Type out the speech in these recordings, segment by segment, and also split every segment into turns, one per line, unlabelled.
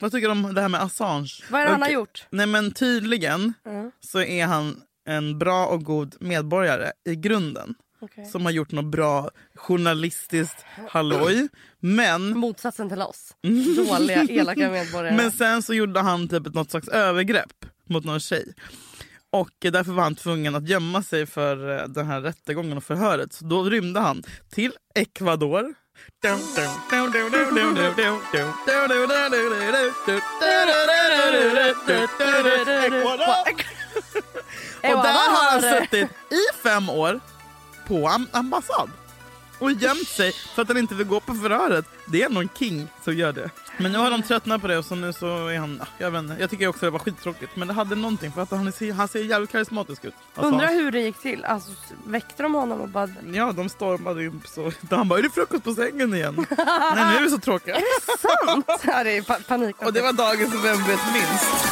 Vad tycker du om det här med Assange?
Vad är det han har
Okej.
gjort?
Nej men tydligen
Mm.
så är han en bra och god medborgare i grunden.
Okej.
Som har gjort något bra journalistiskt halloj. Men,
Motsatsen till oss. Dåliga, elaka medborgare.
Mm. men sen så gjorde han typ ett- något slags övergrepp mot någon tjej. Och eh, därför var han tvungen att gömma sig för eh, den här rättegången och förhöret. Så då rymde han till Ecuador. Och där har han suttit i fem år på am- ambassad och gömt sig för att han inte vill gå på förhöret. Det är någon king som gör det. Men nu har de tröttnat på det och så nu så är han... ah, Jag vet inte, jag tycker också det var skittråkigt men det hade någonting för att han ser, han ser jävligt karismatisk ut. Alltså,
Undrar hur det gick till. Alltså, väckte de honom och bara...
Ja, de stormade in så... Han bara, är det frukost på sängen igen? Nej, nu är vi så tråkiga.
Sant! Ja, det är pa- panik.
Och det var dagen som Vem vet minst.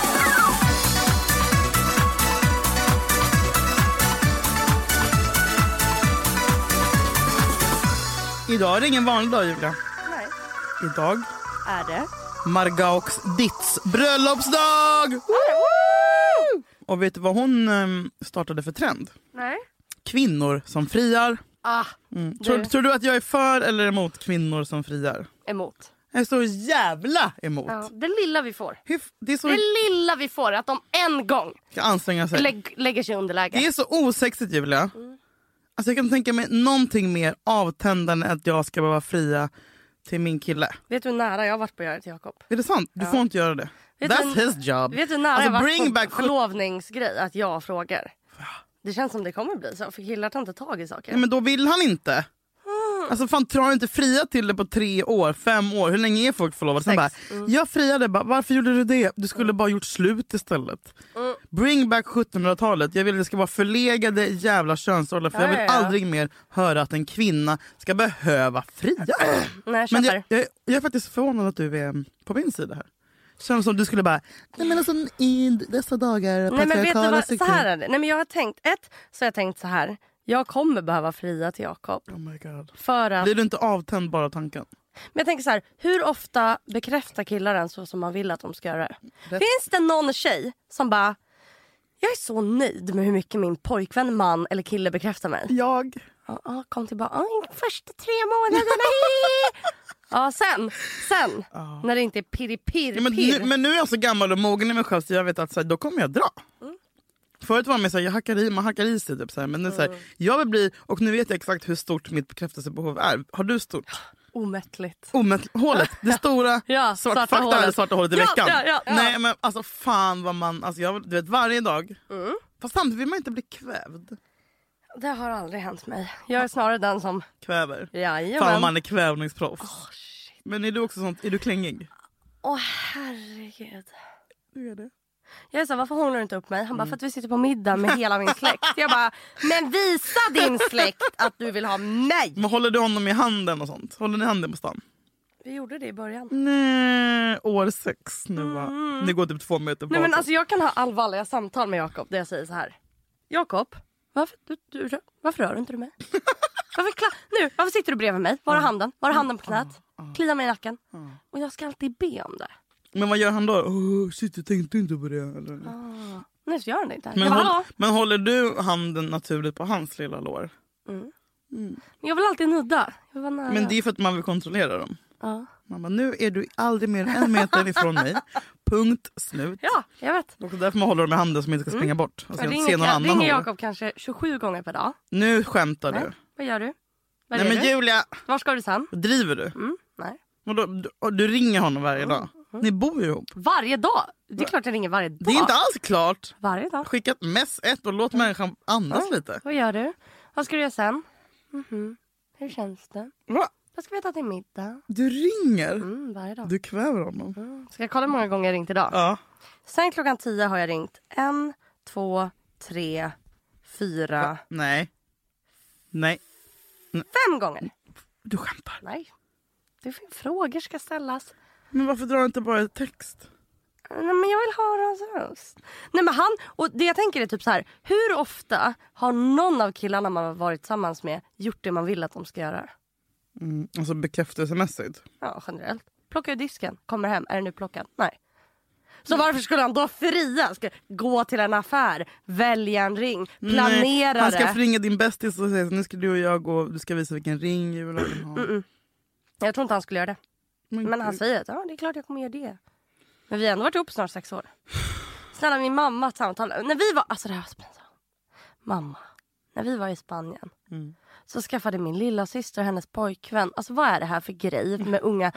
Idag är det ingen vanlig dag Julia.
Nej.
Idag
Är det?
Margaox Ditts bröllopsdag! Woo! Och vet du vad hon ehm, startade för trend?
Nej.
Kvinnor som friar.
Ah,
Mm. Tror,
Det-
tror du att jag är för eller emot kvinnor som friar?
emot.
Jag är så jävla emot.
Ja, det lilla vi får.
Hur f- Det är så...
Det lilla vi får att de en gång
Ska anstränga sig.
lägg, lägger sig i underläge.
Det är så osexigt Julia. Alltså jag kan tänka mig någonting mer avtändande än att jag ska behöva fria till min kille.
Vet du hur nära jag har varit på att göra det till Jakob?
Är det sant? Du får inte göra det.
Vet
That's
du-
his job.
Vet du när
Alltså,
jag varit
bring
på
back-
förlovningsgrej att jag frågar? Det känns som det kommer bli så för killar tar inte tag i saker.
Nej, men då vill han inte.
Mm.
Alltså fan drar inte fria till det på tre år, fem år. Hur länge är folk förlovade? Sen bara,
Sex. Mm.
jag friade bara, varför gjorde du det? Du skulle bara gjort slut istället.
Mm.
Bring back 1700-talet. Jag vill att det ska vara förlegade jävla könsroller. För jag
Ja,
vill
ja, ja.
aldrig mer höra att en kvinna ska behöva fria.
Nej, jag
Men
köper.
jag, jag, jag är faktiskt förvånad att du är på min sida här. Känns som du skulle bara, nej men alltså i dessa dagar,
Nej, men vet du
patriarkala
vad? Så här
strukturer.
är det. Nej, men jag har tänkt, ett, så har jag tänkt så här. Jag kommer behöva fria till Jakob.
Oh my god.
För att,
Blir du inte avtänd bara av tanken?
men jag tänker så här, hur ofta bekräftar killar en så som man vill att de ska göra? Finns det någon tjej som bara, jag är så nöjd med hur mycket min pojkvän, man eller kille bekräftar mig.
Jag.
Ja, ja, kom tillbaka. Ja, de första tre månaderna. hej! Ja, sen. Sen. När det inte är pirr-pirr-pirr.
Ja, men, nu, men nu är jag så gammal och mogen i mig själv så jag vet att så här, då kommer jag dra.
Mm.
Förut var man så här, jag hackar i, man hackar i sig typ så här, men nu så
Mm.
här, jag vill bli, och nu vet jag exakt hur stort mitt bekräftelsebehov är. Har du stort?
Omättligt.
Omätt, hålet, det stora svarta,
Ja, svarta
fakta,
hålet.
svarta hålet i
Ja,
veckan.
ja, ja, ja.
Nej men alltså fan vad man, alltså, jag, du vet varje dag.
Mm.
Fast samtidigt vill man inte bli kvävd.
Det har aldrig hänt mig. Jag är snarare den som...
Kväver. Fan vad
Jajamän.
man är kvävningsproffs. men är du också sånt, är du klängig?
Åh herregud.
Du är det.
Jag är så här, varför hånglar du inte upp mig? Han bara, för att vi sitter på middag med hela min släkt. Jag bara, men visa din släkt att du vill ha mig.
Men håller du honom i handen och sånt? Håller ni handen på stan?
Vi gjorde det i början.
Nej, år sex nu va? Ni går typ två meter
Mm. Nej men
bakåt.
alltså jag kan ha allvarliga samtal med Jakob där jag säger så här. Jakob, varför, du, du, rör- varför rör inte du mig? Varför, kla- nu, varför sitter du bredvid mig? Var är handen? Var är handen på knät? Kliar mig i nacken. Och jag ska alltid be om det.
Men vad gör han då? Oh, shit jag tänkte inte på det. Eller?
Nu så gör han det inte.
Men,
jag, bara,
håll,
"Hallå?"
men håller du handen naturligt på hans lilla lår?
Men jag vill alltid nudda. Jag vill vara nära.
Men det är för att man vill kontrollera dem.
ja.
Man bara, nu är du aldrig mer än en meter ifrån mig. Punkt slut.
ja, Mm. jag vet.
Och därför man håller dem i handen så man inte ska springa bort. Och se,
Jag
se någon
ringer,
annan
ringer
hålla.
Jakob kanske 27 gånger per dag.
Nu skämtar
Nej.
du.
Vad gör du? Vad
Nej men
du?
Julia,
Var ska du sen?
driver du?
Mm, nej.
Och då, du, och du ringer honom varje
Mm.
dag? Ni bor ju ihop.
Varje dag? Det är klart jag ringer varje dag.
Det är inte alls klart.
Varje dag.
Skicka ett mess ett och låt människan andas lite.
Vad gör du? Vad ska du göra sen? Mhm. Hur känns det?
Va?
Vad ska vi äta till middag?
Du ringer?
Mm, varje dag.
Du kväver honom.
Ska jag kolla hur många gånger jag ringt idag?
Ja.
Sen klockan 10 har jag ringt en, två, tre, fyra,
Nej. Nej.
fem gånger.
Du skämtar.
Nej. Det fin- frågor ska ställas.
Men varför drar du inte bara ett text?
Nej, men jag vill höra hans röst. Nej, men han, och det jag tänker är typ så här. Hur ofta har någon av killarna man har varit tillsammans med gjort det man vill att de ska göra?
Mm. Alltså bekräftelsemässigt.
Ja, generellt. plockar ur disken, kommer hem. Är den upplockad? Nej. Så
Mm.
varför skulle han då fria? Ska gå till en affär, välja en ring, planera
Nej, Han ska
det.
förringa din bästis och säga så, nu ska du och jag gå du ska visa vilken ring jag vill ha. Mm.
Jag tror inte han skulle göra det.
Men
Mm, Men han
gud.
säger att ja, det är klart jag kommer göra det. Men vi har ändå varit ihop snart sex år. Snälla min mamma att samtala. När vi var, alltså det här var så pinsamt. Mamma, när vi var i Spanien
Mm.
så skaffade min lilla syster och hennes pojkvän. Alltså vad är det här för grej med unga?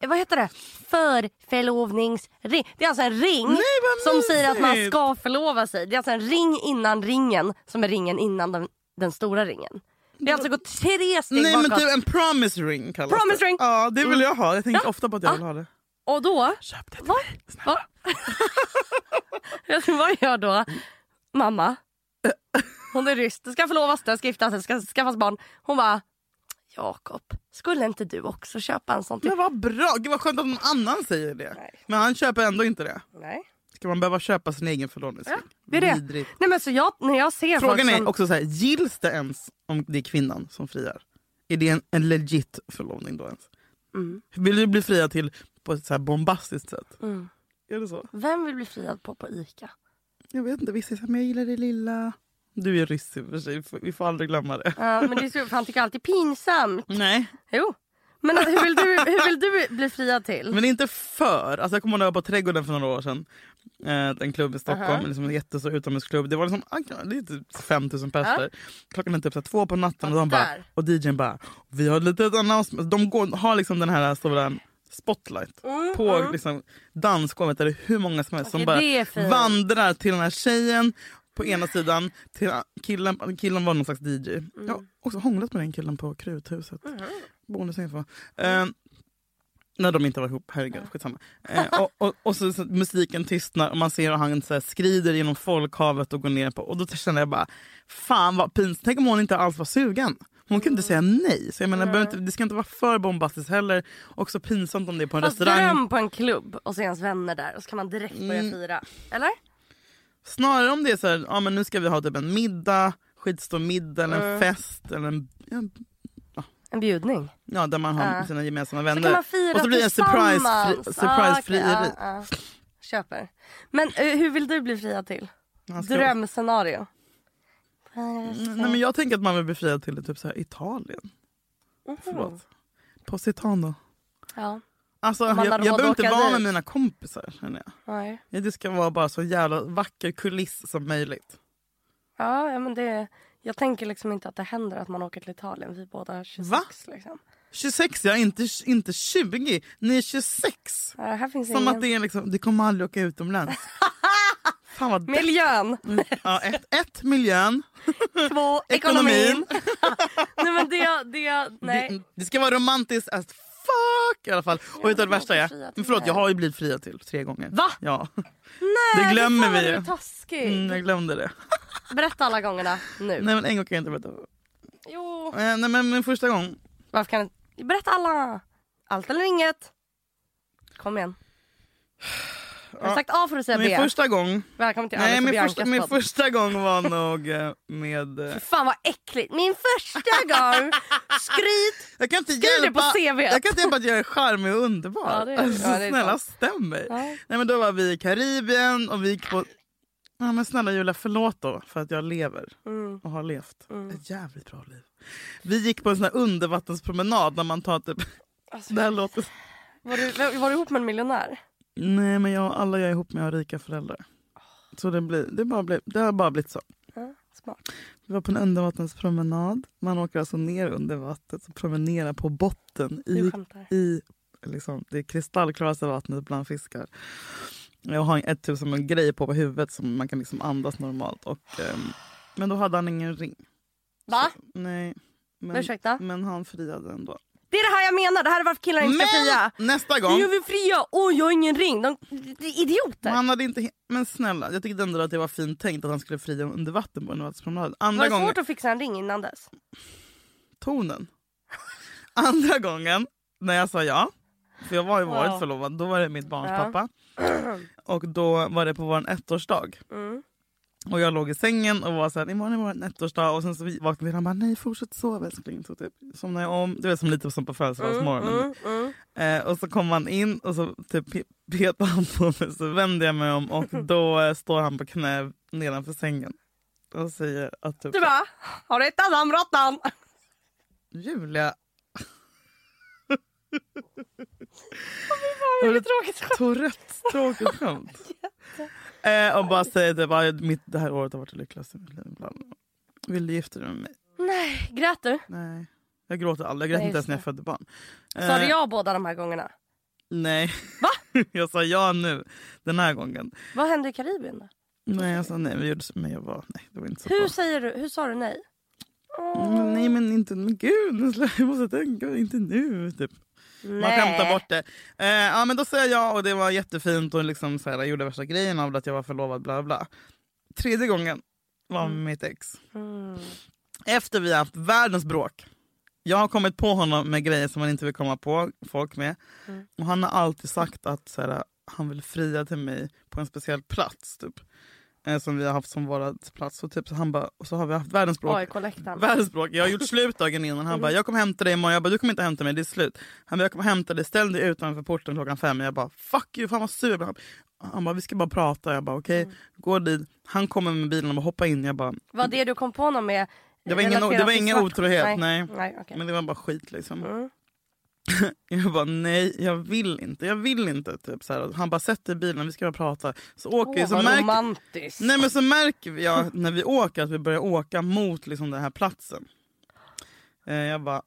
Vad heter det? Förförlovningsring. Det är alltså en ring
Nej, vad
som säger att man
mysigt.
ska förlova sig. Det är alltså en ring innan ringen som är ringen innan den, den stora ringen. Det har alltså gått tre steg
Nej men typ-
bakåt.
du en promise ring kallas
Promise
det.
ring. Mm.
Ja det vill jag ha. Jag tänker ofta på att jag vill ha det.
Och då
Köp det till
Va?
mig. Snälla.
Va? Vet du vad jag gör då? Mamma. Hon är ryss. Det ska förlovas, det ska giftas, det ska skaffas barn. Hon bara, Jakob, skulle inte du också köpa en sån till?
Men vad bra. Gud vad skönt att någon annan säger det.
Nej.
Men han köper ändå inte det.
Nej.
Ska man behöva köpa sin egen förlovningsring?
det är det.
Vidrigt.
Nej men så jag, när jag ser
Frågan
folk
är
som...
också så här, gills det ens om det är kvinnan som friar? Är det en, en legit förlovning då ens?
Mm.
Vill du bli friad till på ett så här bombastiskt sätt?
Mm.
Är det så?
Vem vill bli friad på på ICA?
Jag vet inte, vissa är så här, men jag gillar det lilla. Du är ryss i och för sig, vi får- vi får aldrig glömma det.
Ja, men det är så, för han tycker alltid pinsamt.
Nej,
Jo. Men alltså, hur vill, du, hur vill du bli friad till?
men inte för. Alltså, jag kommer ihåg när jag var på Trädgården för några år sedan. Eh, en klubb i Stockholm,
Aha.
liksom en jättestor utomhusklubb. Det var liksom ah, det är typ 5000 personer.
Ja.
Klockan är typ så här, två på natten och,
Ja,
de bara,
där.
och DJn bara, vi har ett litet announcement. De går, har liksom den här stora spotlight
Mm,
på
mm.
liksom, dansgolvet. Där det är hur många som helst som
Okej,
bara
det är fint.
vandrar till den här tjejen på ena sidan. Till killen, killen var någon slags DJ.
Mm.
Jag har också hånglat med den killen på Kruthuset. Bonusinfo. Eh, när de inte var ihop, herregud skitsamma. Eh, och och, och så, så musiken tystnar och man ser hur han så här, skrider genom folkhavet och går ner på... Och då kände jag bara, fan vad pinsamt. Tänk om hon inte alls var sugen. Hon
Mm.
kunde inte säga nej. Så jag menar, behöver inte, det ska inte vara för bombastiskt heller. Också pinsamt om det är på en
Fast
restaurang.
dröm på en klubb och se ens vänner där och så kan man direkt börja
Mm.
fira. Eller?
Snarare om det är så här, ja, men nu ska vi ha typ en middag, skitstor middag eller
Mm.
en fest. Eller en, ja,
En bjudning.
ja, där man har
Ja.
sina gemensamma vänner.
Äh. Så kan man fira
och så blir det en surprise, fri,
tillsammans.
surprise
Ah, okej,
frieri.
ah, ah. Köper. Men eh, hur vill du bli friad till?
Han ska-
Drömscenario.
Nej, men jag tänker att man vill bli friad till typ så här
Mm.
Italien. Förlåt. Positano.
Ja,
Alltså,
Om
jag
man har
jag
råd att
behöver inte
åka
vara med
dit.
mina kompisar. Känner jag.
nej.
Ja, Det ska vara bara så jävla vacker kuliss som möjligt.
Ja, ja, men det... Jag tänker liksom inte att det händer att man åker till Italien. Vi båda är 26.
Va?
Liksom.
26, jag är inte, inte 20. Ni är 26.
Ja, här finns
Som
ingen...
att det är liksom, du kommer aldrig åka utomlands. Fan vad deppigt.
Miljön.
Ja, ett, ett, miljön.
Två, ekonomin. nej, men det... det nej.
Det, det ska vara romantiskt as fuck i alla fall. Och vet du vad det
men
värsta
jag har
är?
blivit fria
Men förlåt,
till
jag
det.
har ju blivit fria till tre gånger.
Va?
Ja,
Nej,
det glömmer
fan vad
vi
du
ju.
är taskig.
Mm, jag glömde det.
Berätta alla gångerna nu.
Nej men en gång kan jag inte berätta.
Jo.
Eh, Nej men min första gång.
Varför kan du... Berätta alla! Allt eller inget. Kom igen. Har du
Ja.
sagt A får du säga B.
Min första gång.
Välkommen till
Nej
Alice och
min
Biancas
första, min
podd.
första gång var nog eh, med... eh,
Fy Fan vad äckligt. Min första gång! Skryt!
Jag kan inte
Skriv det på
hjälpa.
CV.
Jag kan inte hjälpa att jag är charmig och underbar.
Ja, det är- ja,
alltså,
det är
snälla
sant.
stäm mig.
Ja.
Nej men då var vi i Karibien och vi gick på... Ja, men snälla Julia, förlåt då för att jag lever.
Mm.
och har levt
Mm.
ett jävligt bra liv. Vi gick på en sån här undervattenspromenad när man tar typ...
Alltså,
Det här låter...
var, du, var du ihop med en miljonär?
Nej men jag, alla jag är ihop med har rika föräldrar. Så det, blir, det, bara blir, det har bara blivit så.
Ja, smart.
Vi var på en undervattenspromenad. Man åker alltså ner under vattnet och promenerar på botten
Du
i,
skämtar.
i liksom, det kristallklaraste vattnet bland fiskar. Jag har ett typ som en grej på, på huvudet som man kan liksom andas normalt. Och, ehm, men då hade han ingen ring.
Va?
Nej. Men,
Ursäkta?
men han friade ändå.
Det är det här jag menar. Det här är varför killar inte ska fria.
Men nästa
Nu gör
gång.
vi fria! Åh, jag har ingen ring. De, de är idioter.
Han hade inte, he- men snälla, jag tyckte ändå att det var fint tänkt att han skulle fria under vatten på en vattenspromenad.
var
Andra
det
gången,
svårt att fixa en ring innan dess?
tonen. Andra gången när jag sa ja, för jag var ju varit
Ja.
förlovad, då var det mitt barns
Ja.
pappa. Och då var det på vår ettårsdag.
Mm.
Och jag låg i sängen och var såhär, imorgon är vår ettårsdag. Och sen så vaknade vi och han bara, nej fortsätt sova älskling. Så typ somnade jag om. Det var som lite som på födelsedagsmorgonen.
Mm, mm.
Eh, och så kom han in och så typ pe- petade han på mig. Så vände jag mig om och då eh, står han på knä nedanför sängen. Och säger att typ,
Du bara, har du hittat dammråttan?
Julia,
Vad mycket tråkigt skämt.
Tourettes tråkigt skämt. eh, och bara säger typ, "Ah, mitt, det här året har varit det lyckligaste i mitt liv. Bla, bla, bla. Vill du gifta dig med mig?
Nej, grät du?
Nej. Jag gråter aldrig. Jag grät
Nej,
inte ens
just
när jag födde barn.
Sa du
Eh,
ja båda de här gångerna?
Nej. Va? jag sa ja nu. Den här gången.
Vad hände i Karibien då?
Nej, jag sa nej. Vi gjorde som jag var. Nej, det var inte så
Hur,
bra.
säger du, hur sa du nej?
Mm, Nej men inte, men gud, nu slä- jag måste tänka, inte nu. Typ.
Nej.
Man skämtar bort det. Eh, ja men då sa jag ja och det var jättefint och liksom så här, jag gjorde värsta grejen av det, att jag var förlovad bla bla. Tredje gången var med mitt ex.
Mm.
Efter vi har haft världens bråk. Jag har kommit på honom med grejer som han inte vill komma på folk med.
Mm.
Och han har alltid sagt att så här, han vill fria till mig på en speciell plats. Typ. Eh, som vi har haft som vårat plats. Och, typ, så han bara, och så har vi haft världens bråk.
AIK-läktaren.
Världens bråk. Jag har gjort slut dagen innan. Han bara, jag kommer hämta dig imorgon. Jag bara, du kommer inte hämta mig. Det är slut. Han bara, jag kommer hämta dig. Ställ dig utanför porten klockan fem. Jag bara, fuck you. Fan vad sur jag blev. Han bara, vi ska bara prata. Jag bara, okej. Går dit. Han kommer med bilen och bara, hoppa in. Jag bara,
Var det du kom på honom med?
det var ingen,
relaterat
det var
till
ingen
svart-
otrohet. Nej.
Nej, okej.
Men det var bara skit liksom.
Mm.
Jag bara, nej jag vill inte. Jag vill inte. Typ, så här. Han bara, sätt dig i bilen. Vi ska bara prata. Så åker vi.
Åh,
Så
vad
märker
romantiskt.
Nej men så märker vi- jag när vi åker att vi börjar åka mot liksom, den här platsen. Eh, jag bara,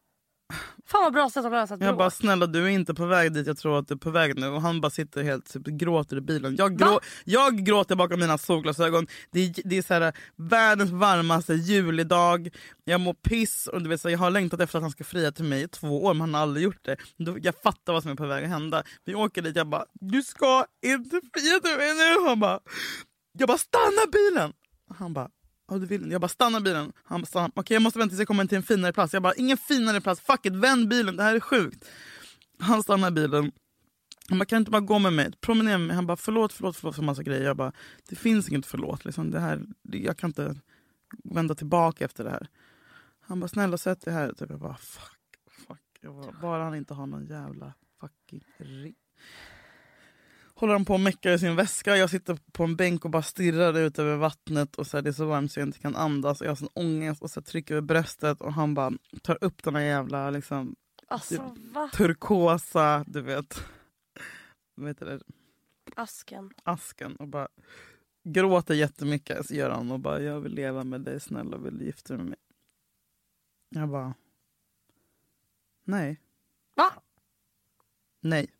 Fan vad bra sätt att lösa ett
jag
bråk.
bara snälla du är inte på väg dit jag tror att du är på väg nu. Och han bara sitter helt typ, gråter i bilen. Jag, grå,
Va?
jag gråter bakom mina solglasögon. Det är, det är så här, världens varmaste julidag. Jag mår piss. Och du vet, så jag har längtat efter att han ska fria till mig i två år men han har aldrig gjort det. Då, jag fattar vad som är på väg att hända. Vi åker dit jag bara du ska inte fria till mig nu. Han bara, jag bara stanna bilen. Han bara Ja, du vill. inte. Jag bara stanna bilen. Han bara, stanna. Okej, jag måste vänta tills jag kommer till en finare plats. Jag bara ingen finare plats. Fuck it, vänd bilen. Det här är sjukt. Han stannar bilen. Han bara, kan du inte bara gå med mig? Promenera med mig. Han bara, förlåt, förlåt, förlåt för massa grejer. Jag bara, det finns inget förlåt. Liksom. Det här, det- jag kan inte vända tillbaka efter det här. Han bara, snälla sätt dig här. Typ. Jag bara, fuck, fuck. Jag bara, bara han inte har någon jävla fucking ring. Håller han på och meckar i sin väska. Jag sitter på en bänk och bara stirrar ut över vattnet. Och så här, Det är så varmt så jag inte kan andas. Och jag har sån ångest och så här, trycker över bröstet. Och han bara tar upp den här jävla liksom,
Alltså va?
turkosa, du vet, vad heter det,
Asken.
asken och bara gråter jättemycket. Så gör han och bara, jag vill leva med dig snälla, vill du gifta dig med mig? Jag bara, nej,
Va?
nej.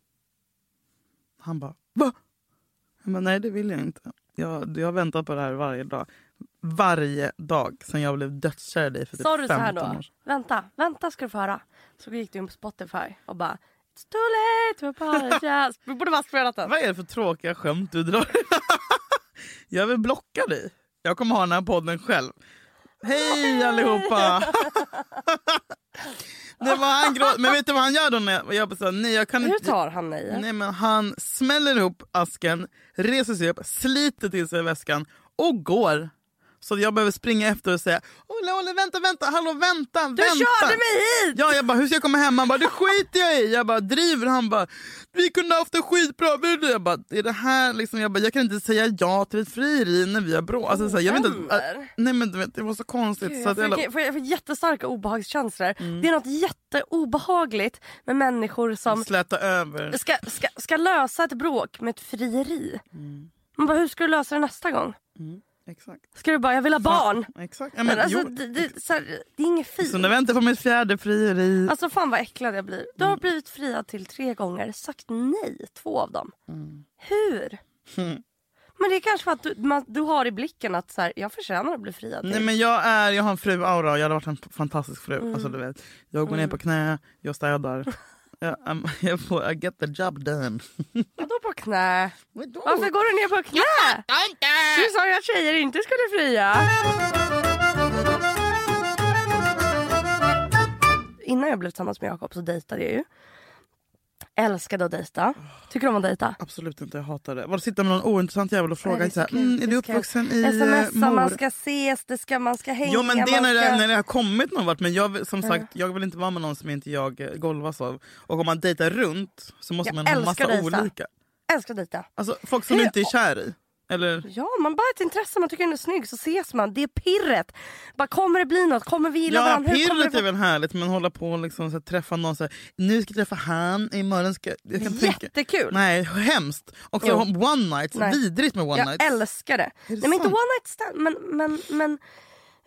Han bara, va? Jag bara, nej det vill jag inte. Jag, jag har väntat på det här varje dag. Varje dag sen jag blev dödskär i dig för typ
Sa du så här
15
då?
år sedan.
Vänta, vänta ska du få höra. Så gick du in på Spotify och bara It's too late to apologize. Vi borde bara spelat den.
Vad är det för tråkiga skämt du drar? jag vill blocka dig. Jag kommer ha den här podden själv. Hej allihopa! det var han grå- men vet du vad han gör då? När jag, jag sa nej jag kan
Hur
inte.
tar han nej?
Nej, men han smäller ihop asken, reser sig upp, sliter till sig väskan och går. Så jag behöver springa efter och säga Olle, Olle, vänta, vänta, hallå, vänta,
Du
vänta.
körde mig hit!
Ja, jag bara, hur ska jag komma hem? Han bara, det skiter jag i. Jag bara, driver? Han bara, vi kunde haft det skitbra. Vi- Jag bara, är det här liksom? Jag bara, jag kan inte säga ja till ett frieri när vi har bråk. Alltså, så här, jag vet inte,
Vänner.
äh, nej men du vet, det var så konstigt.
Gud,
så
jag,
att Mm.
får,
jag,
jag, får, jag får jättestarka obehagskänslor. Det är något jätteobehagligt med människor som
släta över.
ska, ska, ska lösa ett bråk med ett frieri.
Mm.
Man bara, hur ska du lösa det nästa gång?
Exakt.
Ska du bara, jag vill ha barn?
Exakt. Ja,
Men
men,
alltså,
jo.
det, det, så här, det är inget
Så nu
fint.
väntar jag på mitt fjärde frieri.
Alltså fan vad äcklad jag blir.
Mm.
Du har blivit friad till tre gånger, sagt nej två av dem. Hur?
Mm.
Men det är kanske för att du, man, du har i blicken att så här, jag förtjänar att bli friad.
Nej,
till.
men jag, är, jag har en fru-aura och jag har varit en fantastisk fru.
Mm.
Alltså, du vet, jag går ner på knä, jag städar. jag, I'm- jag får, I get the job done.
Vadå på knä? Varför går du ner på knä? Du sa ju att tjejer inte skulle fria. Innan jag blev tillsammans med Jakob så dejtade jag ju. Älskade att dejta. Tycker om att dejta.
Absolut inte, jag hatar det. Var det sitta med någon ointressant jävel och fråga
det är
så här,
så kul,
mm,
det
är
är
du
så kul."
uppvuxen i eh,
Smsa, man
mor?
ska ses, det ska, man ska hänga.
Jo men det är
man
när
ska...
det, när det har kommit någon vart. Men jag, vill- som sagt, jag vill inte vara med någon som inte jag eh, golvas av. Och om man dejtar runt så måste
Jag
man ha
älskar
massa
dejta.
olika.
Älskar att dejta.
Alltså folk som
Hur-
inte är kär i. Eller,
Ja, man bara har ett intresse, man tycker den är snygg så ses man. Det är pirret. Bara, kommer det bli något? Kommer vi gilla
ja
varandra? Hur kommer
pirret
det
är väl härligt men hålla på och liksom, så här, träffa någon så här, nu ska jag träffa han, imorgon ska jag... jag kan
vara?
tänka,
Jättekul.
nej hemskt. Och så
Jo.
one night,
Nej.
vidrigt med one
jag
night.
älskar det.
Är det
Nej men inte
sant?
one night stand, men... men, men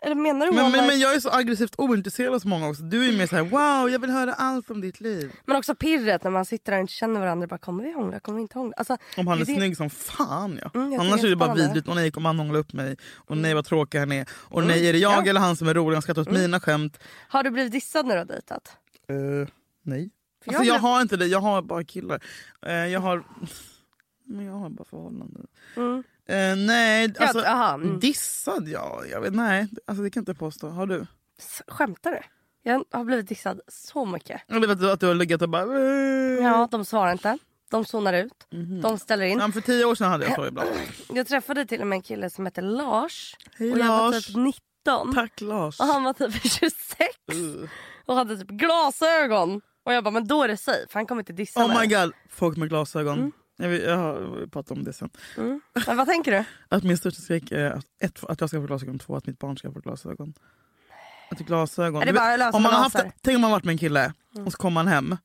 eller menar du
Men,
one
men,
night?
men jag är så aggressivt ointresserad som många också. Du är mer så här: wow jag vill höra allt om ditt liv.
Men också pirret när man sitter där och inte känner varandra. Bara, kommer vi hångla? Kommer vi inte hångla? Alltså,
Om han är
det-
snygg som fan ja.
Mm, jag
Annars
tycker
är det
det
bara
är spännande. Mm.
vidrigt. Och nej kommer han hångla upp mig. Och nej vad tråkig han är. Och nej är det jag
ja. Mm.
eller han som är rolig. Han skrattar åt mina skämt.
Har du blivit dissad när du har dejtat?
Eh, nej.
För
Alltså, jag,
jag blev-
har inte det. Jag har bara killar. Eh, jag har... Men jag har bara förhållanden.
Mm.
Eh, nej,
Ja,
alltså...
aha, mm.
Dissad ja. Jag vet, nej, alltså, det kan jag inte påstå. Har du?
S- Skämtar du? Jag har blivit dissad så mycket.
Eller vet du att du har legat och bara...
Ja, de svarar inte. De zonar ut. De ställer in.
Mm. Mhm. Ja, men för tio år sedan hade jag så ibland.
Jag träffade till och med en kille som hette Lars.
Hej
och jag var
Lars.
typ 19.
Tack Lars.
Och han var typ 26.
Uh.
Och hade typ glasögon. Och jag bara, men då är det safe. Han kommer inte dissa
Oh
mig.
my god, folk med glasögon.
Mm.
Jag, vill, jag har pratat om det sen.
Men vad tänker du?
Att min största skräck är att, ett, att jag ska få glasögon, två att mitt barn ska få glasögon. Att glasögon.
Är det
Du
bara lösa
om man har haft,
laser?
tänk om man har varit med en kille
Mm.
och så kommer han hem.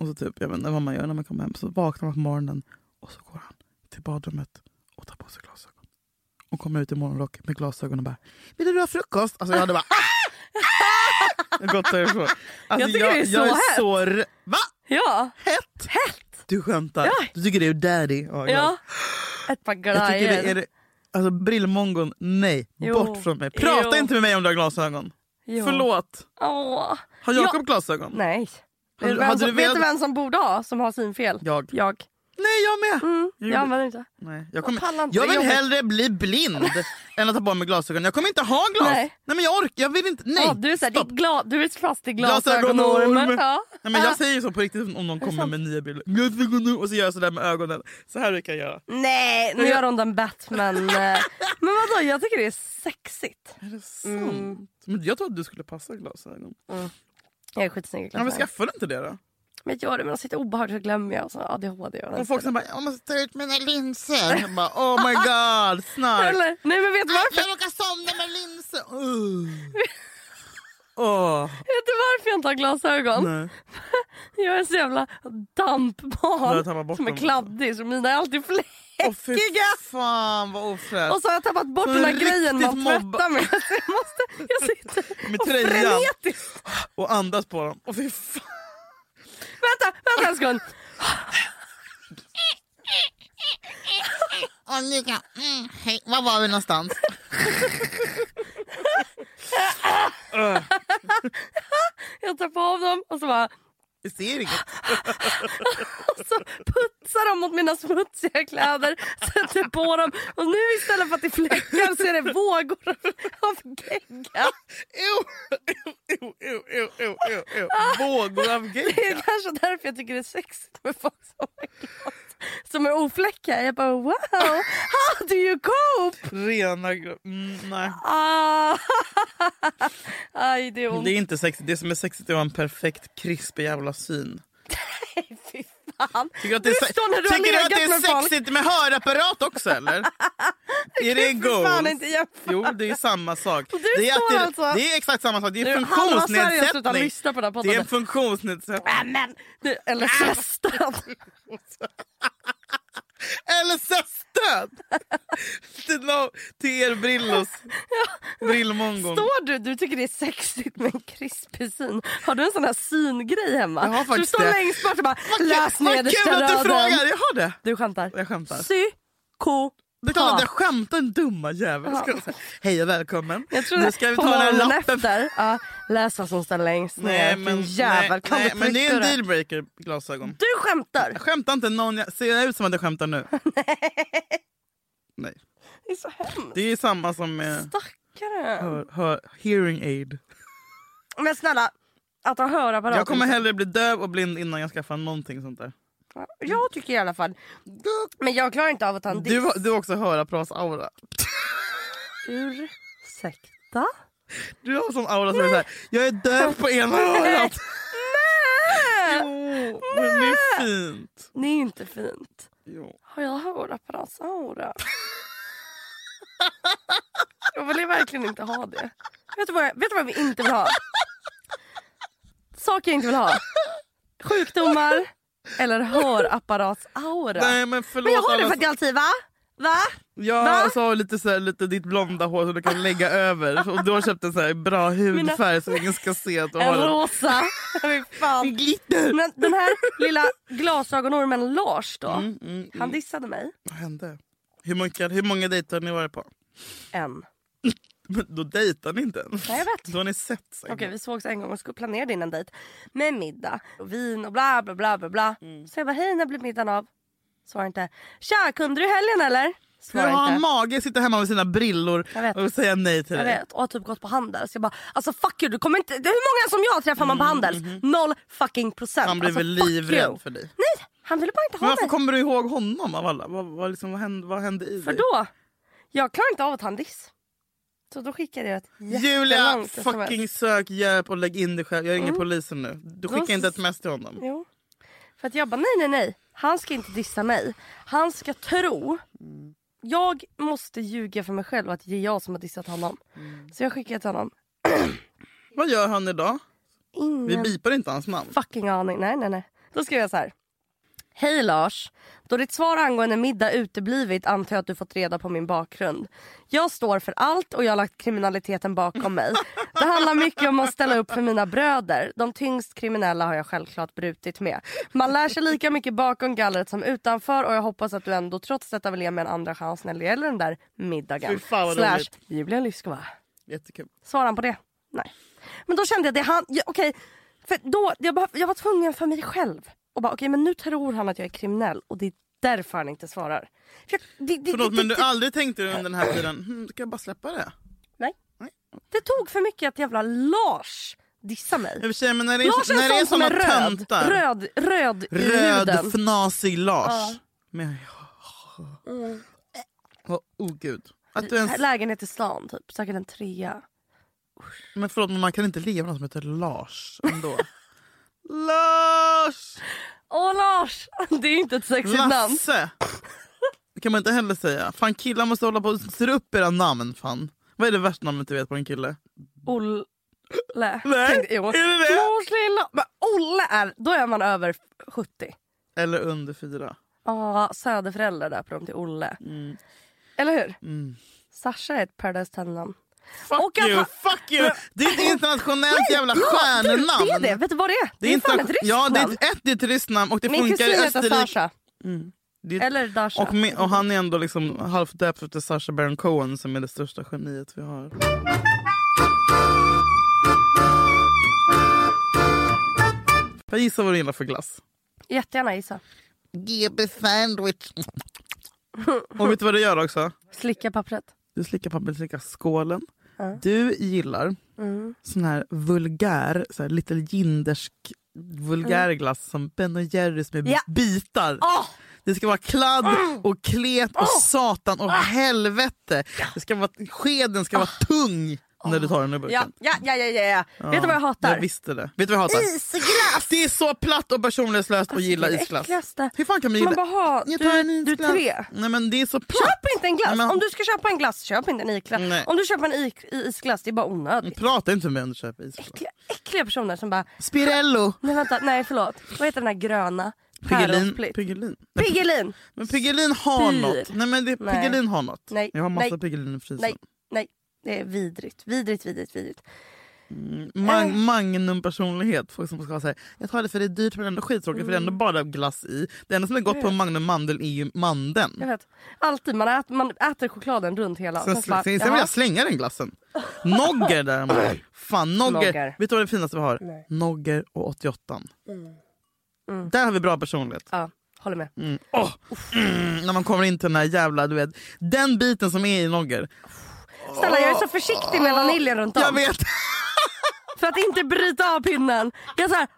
Och så typ, jag vet inte vad man gör när man kommer hem. Så vaknar man på morgonen och så går han till badrummet och tar på sig glasögon. Och kommer ut i morgonrock med glasögon och bara “Vill du ha frukost?” Alltså jag hade bara ah! Ah! Jag har Gått därifrån. Alltså,
Jag tycker det är så
jag
hett.
så r- Va?
Ja.
Hett?
Hett!
Du skämtar?
Ja.
Du tycker det är daddy? Ja, jag-
Ja. Ett par
jag tycker det är
glajjor.
det, alltså brillmongon, nej.
Jo.
Bort från mig. Prata
Jo.
inte med mig om du har glasögon.
Jo.
Förlåt.
Åh.
Har Jakob glasögon?
Nej.
Hade-
Vet du vem
hade du
som- Vet du
velat-
vem som borde ha, som har synfel?
Jag.
Jag.
Nej jag med!
Mm,
gjorde-
jag använder inte.
Nej, jag,
Jag pallar
kommer,
inte,
jag
det är
vill
jobbigt.
hellre bli blind än att ta på mig glasögon. Jag kommer inte ha glas.
Nej.
Nej, men jag orkar, jag vill inte. Nej.
Ja, du är, så här,
stopp.
ditt gla- du är fast i
Glasögonorm.
glasögonorm. Ja.
Nej, men jag säger så på riktigt om någon kommer
sant?
med nya bilder. Glasögon Och så gör jag sådär med ögonen. Så här kan jag göra.
Nej, nu gör hon den Batman. eh, Men vadå, jag tycker det är sexigt.
Är det sant?
Mm.
Men jag trodde att du skulle passa glasögon.
Jag är skitsnygg i
Ja, men
glasögon.
skaffa du inte det då?
Men jag gör det, men jag sitter obehagligt så glömmer jag. Och så ADHD och
Och folk som bara “jag måste ta ut mina linser”. Jag bara “oh my god, snark”.
Eller, nej men vet du varför?
Jag råkar somna med linser. Uh. Åh,
Vet du varför jag inte har glasögon?
nej.
Jag är så jävla
Du har
dampbarn
tappat bort
som är
dem.
kladdig så mina är alltid fläck.
Åh fy fan vad ofräscht.
Och så har jag tappat bort
Så
den här
riktigt
grejen man
mobba-
tvättar med. Så jag, måste, jag sitter
Med
och
tröjan.
frenetiskt...
Och andas på dem. Åh fy fan.
Vänta, vänta en sekund.
Annika, mm, hej. Var var vi någonstans?
Jag tar på av dem och så bara...
Vi ser inget.
Och så putsar de mot mina smutsiga kläder, sätter på dem och nu istället för att det är fläckar så är det vågor av- av gegga.
Ew, ew, ew, ew, ew, ew, ew. Vågor av
Det är
gegga.
kanske därför jag tycker det är sexigt med folk som är glas- som är ofläckade. Jag bara wow, how do you cope?
Rena gro- mm, nej.
Ah. Aj, det är
Det
ont.
är inte sexigt. Det som är sexigt är att ha en perfekt krispig jävla syn.
Nej, fy fan.
Tycker du att det
Du
är, se-
står när du har
tycker du att det
legat med
är
folk.
sexigt med hörapparat också eller? är det
Fy fan,
goals?
inte jämfört.
Jo det är samma sak.
Du
det, är
står
det,
alltså-
det är exakt samma sak, det är
Nu, halva Sverige har slutat
funktionsnedsättning.
lyssna på den här podden.
Det är Ah. en funktionsnedsättning.
Amen. Du, Eller festat.
LSS-stöd! till, no, till er Brillos. Brillmongon.
Står du, du tycker det är sexigt med en krispig syn. Har du en sån här syngrej hemma?
Jag har
Så du
faktiskt
står
det.
längst bort och bara
Vad kul-
läs
vad
nedersta
kul att du
raden.
frågar, jag har det.
Du skämtar.
Jag skämtar.
Psyko.
Det är klart att jag skämtar den dumma jäveln. Ska jag säga. Hej och välkommen.
Jag tror
nu ska vi
på
ta den
morgonen
lappen.
efter. Ja, läs vad som står längst ner.
Nej,
men,
men,
jävel.
nej,
kan
nej,
du
men det är en
trycka det? Mm.
dealbreaker glasögon.
Du skämtar.
Jag skämtar inte någon. Jag, ser jag ut som att jag skämtar nu? Nej.
Det är så hemskt.
Det är samma som med
Stackare.
hör, hör, hearing aid.
Men snälla, att ha hörapparat.
Jag kommer hellre bli döv och blind innan jag skaffar någonting sånt där.
Jag tycker i alla fall. Men jag klarar inte av att ha en diss.
Du, har- du har också hörapparatsaura.
Ursäkta?
Du har sån aura som är såhär, jag är döv på ena örat.
Nej!
Jo, men det är fint.
Det är inte fint.
Jo.
Har jag hörapparatsaura? Jag vill ju verkligen inte ha det. Vet du, vad jag, vet du vad vi inte vill ha? Saker jag inte vill ha. Sjukdomar eller hörapparatsaura.
Nej men förlåt
Men jag har det
alla
för att jag alltid va? Va?
Ja,
Va?
så har du lite, så här, lite ditt blonda hår som du kan lägga över. Och du har köpt en så här bra hudfärg så ingen ska se att du
En
har
rosa. Fy
en
fan.
glitter.
Men den här lilla glasögonormen Lars då.
Mm, mm,
Han
mm.
dissade mig.
Vad hände? Hur många, hur många dejter har ni varit på?
En.
Men då dejtar ni inte ens.
Nej, jag vet.
Då har ni sett.
Okej vi sågs en gång och skulle planera in en dejt. Med middag och vin och bla bla bla bla bla.
Mm.
Så jag bara hej när blir middagen av? Svarar inte. Tja kunde du i helgen eller?
Hur har
Svarar
han
inte.
mage att sitta hemma med sina brillor
Jag vet.
och säga nej till
Jag
dig?
vet och har typ gått på Handels. Jag bara alltså fuck you du kommer inte. Det är hur många som jag träffar man på Handels? Noll fucking procent.
Mm, Han blir
alltså,
väl
fuck
livrädd
you.
för dig.
Nej han ville bara inte
Men alltså,
ha
varför
mig.
kommer du ihåg honom av alla? Vad, vad, liksom, vad, hände, vad hände i
För
dig?
då. Jag klarar inte av att han diss. Så då skickade jag ett
Julia,
jättelångt sms.
fucking sök hjälp och lägg in dig själv. Jag ringer polisen nu. Du
Då
skickar inte ett
s-
mess till honom.
Jo. För att jag bara nej nej nej. Han ska inte dissa mig. Han ska tro.
Mm.
Jag måste ljuga för mig själv att det är jag som har dissat honom.
Mm.
Så jag skickade till honom.
Vad gör han idag? Vi
Ingen
bipar inte hans namn.
fucking aning. Nej nej nej. Då skrev jag så här. Hej Lars. Då ditt svar angående middag uteblivit antar jag att du fått reda på min bakgrund. Jag står för allt och jag har lagt kriminaliteten bakom mig. Det handlar mycket om att ställa upp för mina bröder. De tyngst kriminella har jag självklart brutit med. Man lär sig lika mycket bakom gallret som utanför och jag hoppas att du ändå trots detta vill ge mig en andra chans när det gäller den där middagen.
Fy fan, vad
Slash
roligt.
Julia Lyskova.
Jättekul.
Svarar han på det? Nej. Men då kände jag det han, ja, okej. För då, jag, behöv, jag var tvungen för mig själv. Och bara okej men nu tror han att jag är kriminell och det är därför han inte svarar. För jag, det, det,
Förlåt
det,
men du
det,
aldrig tänkte du under den här tiden, hm, ska jag bara släppa det?
det tog för mycket att jävla Lars dissa mig.
I och för sig, men när det är,
Lars
så, när
är
det är
en sån som
såna
är röd.
töntar.
Röd, röd, i huden.
Röd fnasig Lars.
Ja. Mm.
Men, oh, oh gud. Att du ens,
Lägenhet i stan typ, säkert en trea.
men förlåt men man kan inte leva med någon som heter Lars ändå. Lars!
Åh Lars! Det är inte ett sexigt namn.
Lasse! Det kan man inte heller säga. Fan killar måste hålla på och styra upp era namn fan. Vad är det värsta namnet du vet på en kille?
Olle.
Nej,
Tänkte- jo.
är det det?
Lars lilla. Men Olle är, då är man över 70.
Eller under fyra.
Ja, söderföräldrar döper dem till Olle.
Mm.
Eller hur?
Mm.
Sasha är ett Paradise Hotel-namn.
Fuck
Och att
you,
han-
fuck you! Det är ett internationellt jävla
Du,
stjärnnamn.
det är det! Vet du vad det är? Det är,
inte-
fan ett ryskt
Ja, det är
namn.
ett, ett, det är ett ryskt namn och det
Min
funkar i
kusin heter
Österrike.
Sasha.
Mm. Det är,
Eller Dasha.
och, med, och han är ändå liksom halvt döpt efter Sacha Baron Cohen som är det största geniet vi har. Jag gissar vad du gillar för glass.
Jättegärna gissa.
GB sandwich. Och vet du vad du gör också?
Slicka pappret.
Du slickar pappret, slickar skålen.
Ja.
Du gillar
Mm.
sån här vulgär, så här little jindersk vulgär glass som Ben och Jerrys med
Mm. Ja.
bitar.
Åh!
Det ska vara kladd
Ah!
och klet och
Oh!
satan och helvete. Det ska vara, skeden ska vara tung när du tar den ur
Ja,
burken.
ja, ja, ja, ja. Ah! ja.
Ja,
Vet du vad jag hatar?
Jag visste det. Vet du vad jag hatar?
Isglass!
Det är så platt och personlighetslöst att gilla
Alltså, det är det
isglass.
äckligaste.
Hur fan kan man
Man
gilla?
bara, ha,
Jag tar en
du, du är
isglass.
tre.
Nej men det är så platt.
Köp inte en glass!
Men-
Om du ska köpa en glass, köp inte en isglass.
Nej. Mm.
Om du köper en ik- isglass, det är bara onödigt.
Prata inte med mig om du köper isglass.
Äckliga, äckliga personer som bara,
Spirello.
nej vänta, nej förlåt. Vad heter den här gröna?
Piggelin.
Päronsplitt.
Piggelin. Nej,
Piggelin!
Men Piggelin har
Spyr.
något. Nej men det,
Nej.
Piggelin har något.
Nej.
Jag har massa
Nej.
Piggelin i frysen.
Nej, nej. Det är vidrigt. Vidrigt, vidrigt, vidrigt. Eh.
Mag- Magnum-personlighet. Folk som ska säga jag tar det för det är dyrt men ändå skittråkigt för det är
Mm.
ändå bara glass i. Det enda som är gott på Magnum mandel är ju mandeln.
Jag vet. Alltid, man äter, man äter chokladen runt hela.
Sen,
så
sl-
bara,
sen, sen vill
jaha.
jag slänga den glassen. Nogger däremot. Fan, nogger.
Nogger.
Vet du vad det finaste vi har?
Nej. Mm.
Nogger och 88. Där har vi bra personlighet.
Ja, håller med.
Mm. Åh! Mm. När man kommer in till den här jävla, du vet, den biten som är i nogger.
Snälla jag är så försiktig med vaniljen runt om.
Jag vet!
För För att inte bryta av pinnen. Jag så här,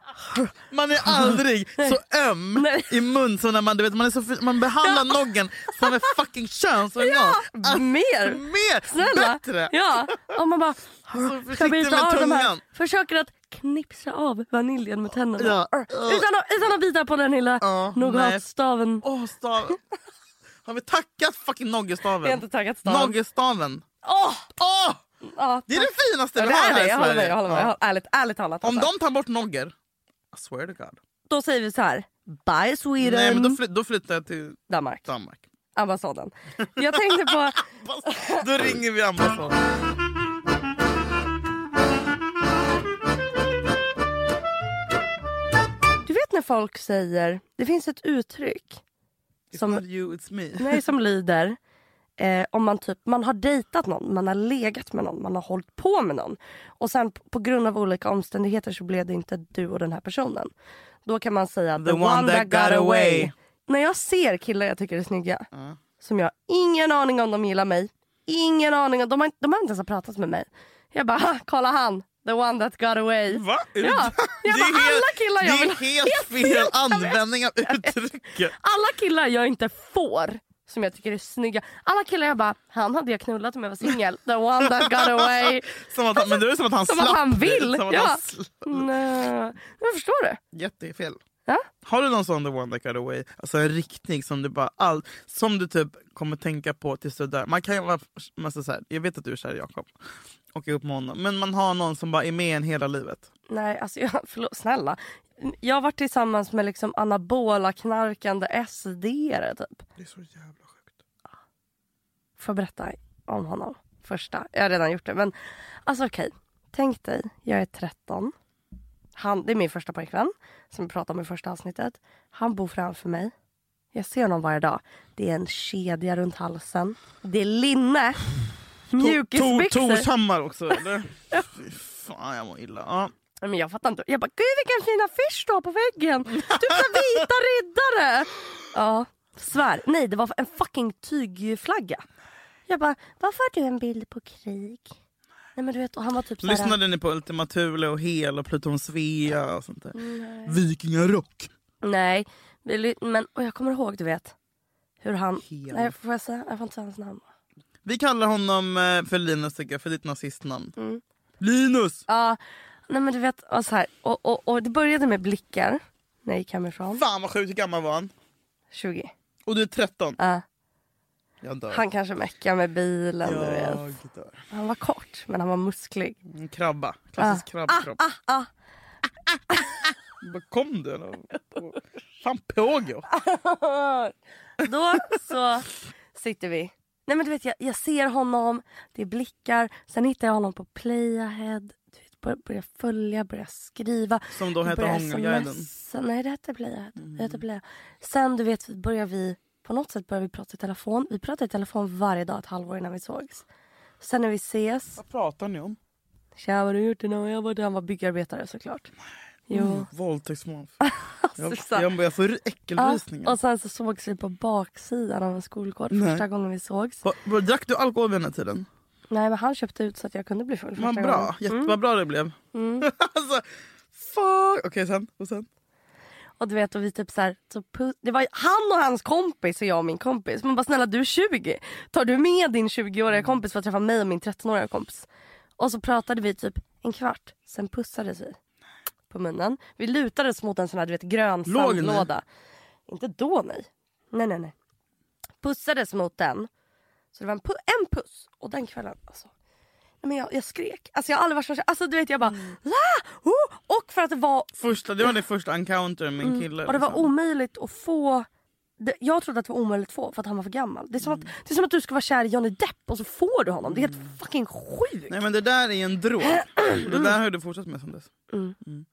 Man är aldrig så öm
Nej.
i mun som när man, du vet, man, är så, fri- man behandlar noggen som ett fucking könsorgan. Alltså,
mer.
mer!
Snälla.
Bättre!
Ja. Och man bara
Alltså,
ska
försiktig
bryta
med
av de här.
tungan.
Försöker att knipsa av vaniljen med tänderna.
Ja.
Arr. Utan, att, utan att bita på den lilla
Ja, nej.
nougatstaven.
Åh, staven. Har vi tackat fucking
Jag har
noggelstaven?
inte tagit staven.
Noggelstaven.
Åh!
Åh!
Ja,
Det är det finaste
Ja,
vi
det
har
är
här
det.
i
Jag håller med.
Sverige.
Jag håller med.
Ja.
Jag- Ärligt, ärligt talat.
Om
alltså.
de tar bort nogger, I swear to God.
Då säger vi så här. Bye Sweden.
Nej, men då, fly- då flyttar jag till
Danmark.
Danmark.
Ambassaden. Jag tänkte på...
Då ringer vi ambassaden.
Du vet när folk säger... Det finns ett uttryck
It's
Som-
not you, it's me.
nej, som lyder... Eh, om man, typ, man har dejtat någon, man har legat med någon, man har hållit på med någon. Och sen p- på grund av olika omständigheter så blev det inte du och den här personen. Då kan man säga the, one, that got away. När jag ser killar jag tycker är snygga
Ja.
som jag har ingen aning om de gillar mig. Ingen aning om, de har, inte- de har inte ens pratat med mig. Jag bara, "Ha, kolla han, the one that got away.
Va? Det
Ja. Jag
är
bara, alla
helt-
killar
Det
jag vill
är helt fel användning av uttrycket.
Alla killar jag inte får som jag tycker är snygga. Alla killar jag bara, han hade jag knullat om jag var singel. The one that got away.
Som att, han- men det är som att han
Alltså, Som att
slapp
han
dig.
vill,
Som att
ja.
han sl-
Nej, jag förstår det.
Jättefel.
Ja?
Har du någon sån the one that got away? Alltså en riktning som du bara all, som du typ kommer tänka på tills du där. Man kan ju vara massa så här, jag vet att du är kär i Jakob och är ihop med honom. Men man har någon som bara är med en hela livet.
Nej, alltså jag, förlåt, snälla. Jag har varit tillsammans med liksom anabola knarkande SD-are typ.
Det är så jävla sjukt.
Får jag berätta om honom? Första. Jag har redan gjort det. Men alltså okej. Tänk dig, jag är 13. Han, det är min första pojkvän som vi pratade om i första avsnittet. Han bor framför mig. Jag ser honom varje dag. Det är en kedja runt halsen. Det är linne.
Tor-
Mjukisbyxor.
Torshammar också eller? Fy fan jag mår illa. Ja.
Nej, Men jag fattar inte. Jag bara, gud vilken fin affisch du har på väggen. Typ så vita riddare. Ja, svär. Nej, det var en fucking tygflagga. Jag bara, varför har du en bild på krig? Nej men du vet, och han var typ såhär.
Lyssnade ni på Ultima Thule och Hel och Pluton Svea och sånt där?
Nej.
Vikingarock.
Nej, vi ly- men och jag kommer ihåg du vet. Hur han...
Hel.
Nej, får jag säga? Jag får inte säga hans namn.
Vi kallar honom eh, för Linus tycker jag, för ditt nazistnamn.
Mm.
Linus!
Ja, nej men du vet, och så här. Och, och, och det började med blickar. När jag gick hemifrån.
Fan vad sjukt, hur gammal var han?
20.
Och du är 13.
Ja,
Jag dör.
han kanske meckade med bilen, du vet.
jag dör.
Han var kort, men han var musklig.
En krabba. Klassisk krabbkropp.
Ah, ah.
Var Kom du eller? Fan pågår.
Då så sitter vi. Nej men du vet jag, jag ser honom, det är blickar. Sen hittar jag honom på Playahead. Du vet, bör, börjar följa, börjar skriva.
Som då
Jag
heter Mm.
börjar
Hångelguiden.
smsa. Nej det hette Playahead. Det hette Playahead. Sen du vet börjar vi, på något sätt börjar vi prata i telefon. Vi pratade i telefon varje dag ett halvår innan vi sågs. Sen när vi ses,
Vad pratar ni om?
tja vad har du gjort idag? Jag var han var byggarbetare såklart.
Mm.
Jo.
Våldtäktsmål. Jag,
Susanne.
jag, jag får
Ja,
äckelrysningar.
Ah, och sen så sågs vi på baksidan av en skolgård
Nej.
första gången vi sågs.
Va- va- Drack du alkohol vid den här tiden?
Nej men han köpte ut så att jag kunde bli full Mm. första
Vad
gången. Mm.
bra. Jätte, vad bra det blev. alltså, fuck. Okej sen. Och sen?
Och du vet och vi typ så här, så pu- det var ju han och hans kompis och jag och min kompis. Man bara snälla du är 20. Tar du med din
Mm.
20-åriga kompis för att träffa mig och min 13-åriga kompis? Och så pratade vi typ en kvart, sen pussades vi på munnen. Vi lutades mot en sån här du vet grön
Låg ni?
sandlåda. Inte då nej. Nej nej nej. Pussades mot den. Så det var en, pu- en puss. Och den kvällen alltså. Nej, men jag, jag skrek. Alltså jag har aldrig varit så Alltså du vet jag bara.
Mm.
Ah, oh! Och för att det var
Första, det var din första encounter med en kille.
Mm. och det var
liksom.
omöjligt att få... Det, jag trodde att det var omöjligt att få för att han var för gammal. Det är som
Mm.
att, det är som att du ska vara kär i Johnny Depp och så får du honom. Det är helt fucking sjukt.
Nej men det där är en drog. Och det där har du fortsatt med sen dess.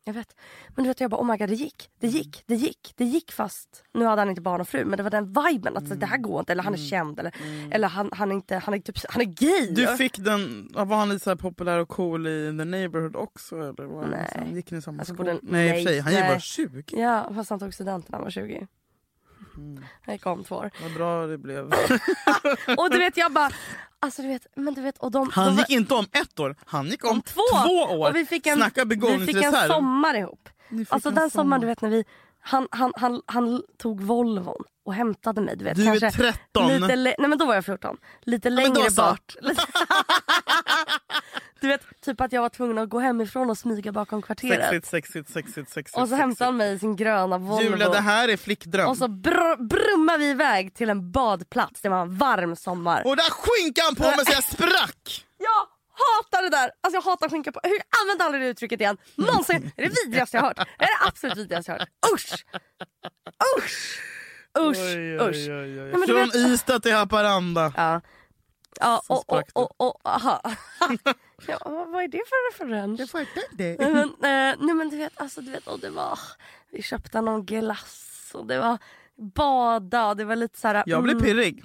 Jag vet. Men du vet jag bara oh my god det gick. Det
Mm.
gick. Det gick. Det gick fast nu hade han inte barn och fru men det var den viben att det här
Mm.
går inte eller han är känd eller, eller han, han är inte han är typ han är gay.
Du fick den, ja, var han lite så här populär och cool i The Neighborhood också? Eller var
Nej.
Han, liksom- gick ni i samma
Alltså, på
skola?
den-
nej, i och
nej,
för sig, han gick
nej.
bara 20.
Ja fast han tog studenten när han var 20.
Mm.
Det kom två år.
Vad bra det blev.
Och du vet jag bara, alltså du vet, men du vet och de... de
Han
var-
gick inte om ett år, han gick om,
Om två.
två. år.
och vi fick en,
Snacka
vi fick en
begåvningsreserv.
sommar ihop.
Ni fick
Alltså
en
den sommaren du vet när vi, han, han, han, han tog Volvon och hämtade mig. Du vet
Du
kanske
är 13.
Lite lä- Nej men då var jag 14. Lite
men då
längre
så.
bort. Lite- du vet typ att jag var tvungen att gå hemifrån och smyga bakom kvarteret.
Sexigt, sexigt, sexigt, sexigt.
Och så hämtade han mig i sin gröna Volvo.
Julia, det här är flickdröm.
Och så br- brummade vi iväg till en badplats. Det var en varm sommar.
Och där skinkade han på mig så jag sprack!
Jag hatar det där! Alltså jag hatar skinka på... Hur använder aldrig det uttrycket igen? Någonsin! Det är det vidrigaste jag har hört. Det är det absolut vidrigaste jag har hört. Usch! Usch! Usch! Usch! men du
Från
vet-
Ystad till Haparanda.
Ja. Ja,
Så
och, och,
sprack det.
och, och, aha. ja, vad vad är det för referens?
fattar det.
Nej men, eh, nej, men du vet, alltså, du vet och det var... Vi köpte någon glass och det var bada och det var lite så här...
Jag blir
mm,
pirrig.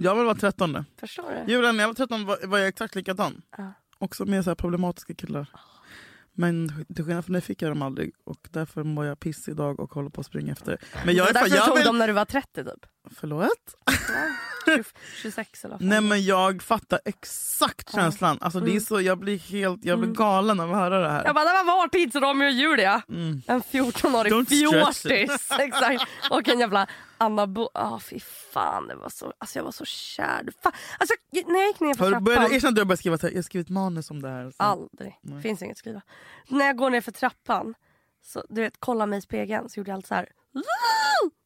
Jag vill vara 13.
Förstår du?
Julia, när jag var 13 var, var jag exakt likadan.
Ja.
Också med så här problematiska killar. Men till skillnad från dig fick jag dem aldrig och därför mår jag piss idag och håller på att springa efter. Men jag är
därför
fan, jag
tog
vill...
dem när du var 30 typ.
Förlåt?
Ja, 20, 26 eller vad fan.
Nej men jag fattar exakt
Ja.
känslan. Alltså, det är så, jag blir helt jag blir
Mm.
galen av att höra det här.
Jag bara, det var vår tid så Romeo och Julia.
Mm.
En 14-årig
Don't stretch
fjortis. Exakt. Och en jävla Anna Bo... Ja, fy fan. Det var så... Alltså, jag var så kär. Fan. Alltså, jag- när jag gick ner
Har
för
du börjat,
trappan...
erkänn att du har börjat skriva så här, jag har skrivit manus om det här. liksom? Så.
Aldrig.
Nej.
Finns inget att skriva. När jag går ner för trappan, så, du vet, kolla mig i spegeln, så gjorde jag allt så här.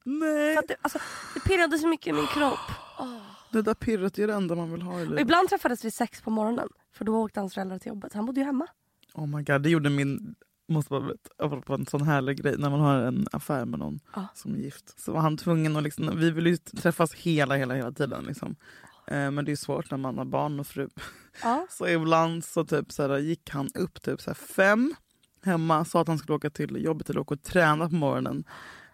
Nej,
För att det, alltså, det pirrade så mycket i min kropp.
det där pirret är det enda man vill ha i
Och
livet.
ibland träffades vi sex på morgonen, för då åkte hans föräldrar till jobbet. Han bodde ju hemma.
Oh my god, det gjorde min... Måste bara berätta, apropå en sån härlig grej, när man har en affär med någon
Ja.
som är gift. Så var han tvungen att liksom, vi ville ju träffas hela, hela, hela tiden. Liksom. Eh, men det är svårt när man har barn och fru.
Ja.
Så ibland så typ så här, gick han upp typ så här fem hemma, sa att han skulle åka till jobbet eller åka och träna på morgonen.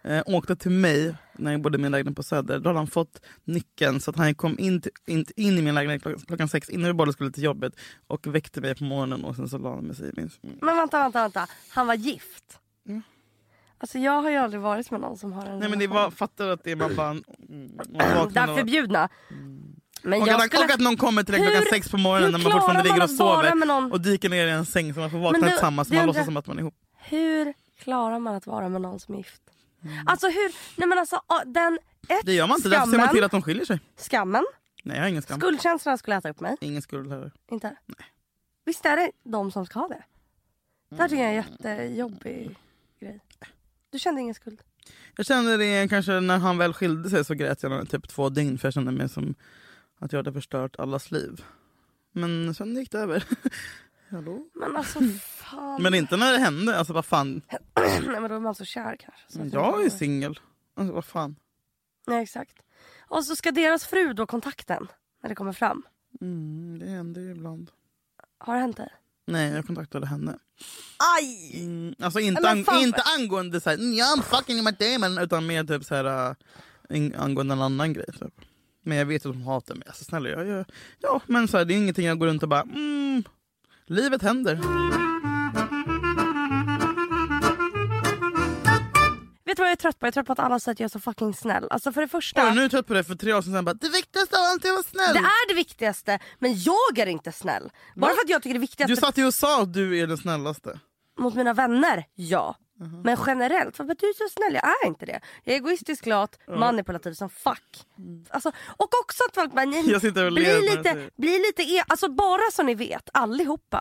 Eh, åkte till mig när jag bodde i min lägenhet på Söder. Då hade han fått nyckeln så att han kom in, till, in, in i min lägenhet klockan, klockan sex innan vi båda skulle till jobbet och väckte mig på morgonen och sen så la han mig sig i min säng.
Men vänta, vänta, vänta. Han var gift.
Ja.
Alltså jag har ju aldrig varit med någon som har en
Mm. Nej men det
relation.
var, fattar du att det är man bara... Mm, man vaknar
där
och- Mm.
förbjudna. Men
och,
jag
att,
skulle...
och att någon kommer till en klockan
Hur-
sex på morgonen
Hur
när
klarar
man fortfarande ligger
man
och
att vara
sover
med någon?
och dyker ner i en säng så man får
Men
vakna
det-
tillsammans
det
man
undrar-
låtsas som att man är ihop.
Hur klarar man att vara med någon som är gift?
Mm.
Alltså hur... Nej men alltså ah, den... Ett,
Det gör man inte, därför ser man
Skammen.
till att de skiljer sig.
skammen.
Nej jag har ingen skam.
Skuldkänslan skulle äta upp mig.
Ingen skuld heller.
Inte? Visst är det de som ska ha det? Det här tycker jag är en jättejobbig grej. Du kände ingen skuld?
Jag kände det kanske när han väl skilde sig så grät jag nog typ två dygn för jag kände mig som att jag hade förstört allas liv. Men sen gick det över. Hallå?
Men alltså fan.
Mm. Men inte när det hände. Alltså vad fan.
Nej men då är man så kär kanske. Så att man-
Mm, Jag är singel. Alltså vad fan.
Nej exakt. Och så ska deras fru då kontakten när det kommer fram.
Mm, det händer ju ibland.
Har det hänt dig?
Nej, jag kontaktade henne.
Aj!
Mm, alltså inte,
Men
ang-
fan-
inte angående så här, "Mm, I'm fucking my demon, utan mer typ så här, äh, in- angående en annan grej. Typ. Men jag vet att hon hatar mig. Alltså, snälla, jag, jag, ja, men så här, det är ingenting jag går runt och bara mm, livet händer.
Vet du vad jag är trött på? Jag är trött på att alla säger att jag är så fucking snäll. Alltså för det första,
Oj, nu är jag trött på det för tre år sedan sen bara det viktigaste av allt är att vara
det
snäll.
är det viktigaste. Men jag är inte snäll. Bara för att jag tycker det viktigaste
Du satt ju och sa att du är den snällaste.
mot mina vänner, ja.
Mhm.
Men generellt, vad du är så snäll. Jag är inte det. Jag är egoistisk, lat,
Mm.
manipulativ som fuck. Alltså, och också att folk bara, nej,
Jag sitter och
bli
ler när jag
lite,
säger-
bli lite e- Alltså bara så ni vet, allihopa.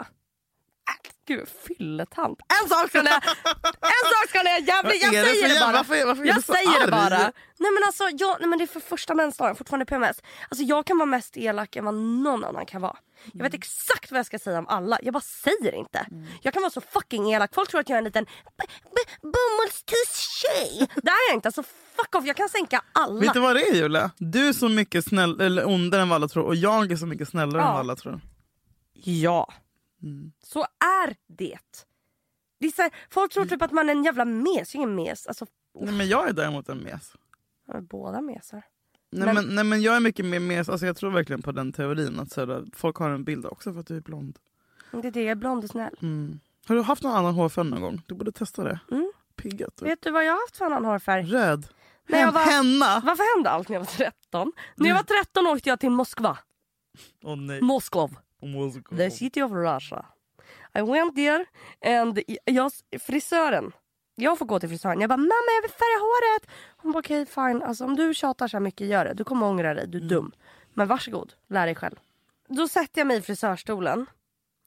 Äh, Gud, fylletant. En sak ska ni ha! En sak ska ni ha!
Vad
Jävligt, jag
är det för
säger det
jävla-
bara.
varför- varför är
jag
du så
säger det
arg?
bara. Nej men alltså, jag, nej, men det är för första mensdagen, jag har fortfarande PMS. Alltså jag kan vara mest elak än vad någon annan kan vara. Jag
Mm.
vet exakt vad jag ska säga om alla, jag bara säger inte. Jag kan vara så fucking elak, folk tror att jag är en liten b- b- bomullstuss-tjej. Det är jag inte, alltså fuck off, jag kan sänka alla.
Vet du vad det är Julia? Du är så mycket snäll, eller ondare än vad alla tror och jag är så mycket snällare än
Ja.
vad alla tror.
Ja.
Mm.
Så är det. det är så här, folk tror typ att man är en jävla mes. Jag är ingen mes. Alltså,
Nej, men jag är däremot en mes.
jag är båda mesar.
Nej
Men-
men, nej, men jag är mycket mer mes, alltså jag tror verkligen på den teorin att så här, folk har en bild också för att du är blond.
Det är det, jag är blond och snäll.
Mm. Har du haft någon annan hårfärg någon gång? Du borde testa det.
Mm.
Piggat.
Vet du vad jag har haft för annan hårfärg?
Röd.
När jag var,
Henna!
varför hände allt när jag var 13? När jag var 13 åkte jag till Moskva.
Åh nej.
Moskov.
Moskva.
The city of Russia. I went there and jag, frisören. Jag får gå till frisören. Jag bara mamma jag vill färga håret. Hon bara okej fine. Alltså, om du tjatar så här mycket gör det. Du kommer ångra dig. Du
Mm.
är dum. Men varsågod. Lär dig själv. Då sätter jag mig i frisörstolen.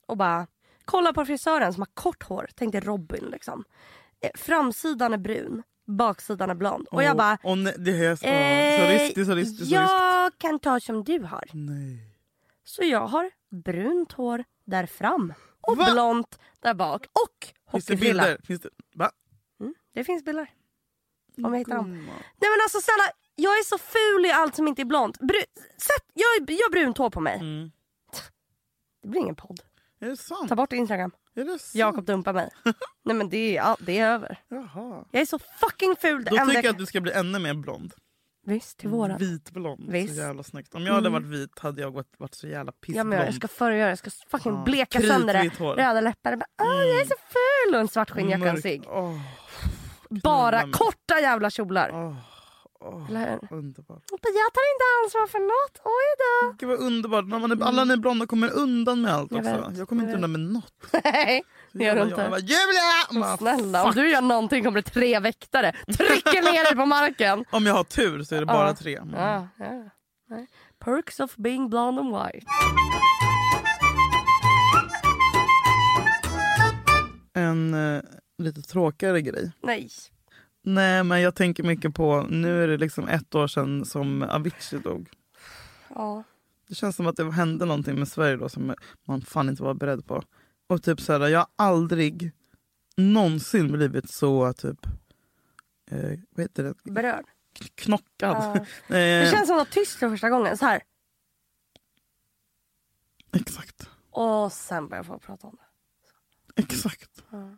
Och bara kollar på frisören som har kort hår. Tänkte Robin liksom. Eh, Framsidan är brun. Baksidan är blond. Och jag
Åh,
bara.
Åh nej, det är höst.
eh,
Eh, sorry, sorry, sorry,
jag kan ta som du har.
Nej.
Så jag har brunt hår där fram och
Va?
blont där bak och
Finns det
hockeyfrilla.
bilder? Finns det... Va?
Mm, det finns bilder. Om jag hittar dem.
Gumman.
Nej men alltså snälla, jag är så ful i allt som inte är blont. Bru- Sätt, jag, jag har brunt hår på mig.
Mm.
Det blir ingen podd.
Är det sant?
Ta bort Instagram.
Är det sant?
Jakob dumpar mig. Nej men det är, all- det är över.
Jaha.
Jag är så fucking ful. det
Då tycker
enda
jag Mm,
kan-
att du ska bli ännu mer blond.
Visst, till våran.
Vitblond.
Visst. Mm.
Så jävla snyggt. Om jag hade varit vit hade jag varit, varit så jävla
Ja,
pissblond.
men jag ska föregöra, jag ska fucking
Ja,
bleka
kritvitt
sönder det.
hår. Mm.
Röda läppar. Jag Bara, "Åh, jag är så ful! Och en svart skinnjacka och en
Mörk-
cigg.
Åh,
Bara
knulla mig.
korta jävla kjolar.
åh, åh.
Eller hur?
Underbart.
Jag tar inte ansvar för något. Oj då.
Gud vad underbart. När man är, alla ni blonda kommer undan med allt
Jag
också. Jag,
vet,
kommer inte
jag vet.
undan med något.
Nej, det gör du
Jävla Jag
inte.
bara, Julia!
Ah,
Man,
Snälla, om du gör någonting kommer det tre väktare. Trycker ner dig på marken.
Om jag har tur så är det bara
Ja.
tre. Men,
Ja, ja. Nej. Perks of being blonde and white.
En eh, lite tråkigare grej.
Nej.
Nej men jag tänker mycket på, nu är det liksom ett år sedan som Avicii dog.
Ja.
Det känns som att det hände någonting med Sverige då som man fan inte var beredd på. Och typ så här, jag har aldrig någonsin blivit så typ, eh, vad heter det,
Berörd.
knockad.
Ja. Det
eh,
känns som att det var tyst för första gången. Så här.
Exakt,
Och sen börjar folk prata om det.
exakt.
Ja.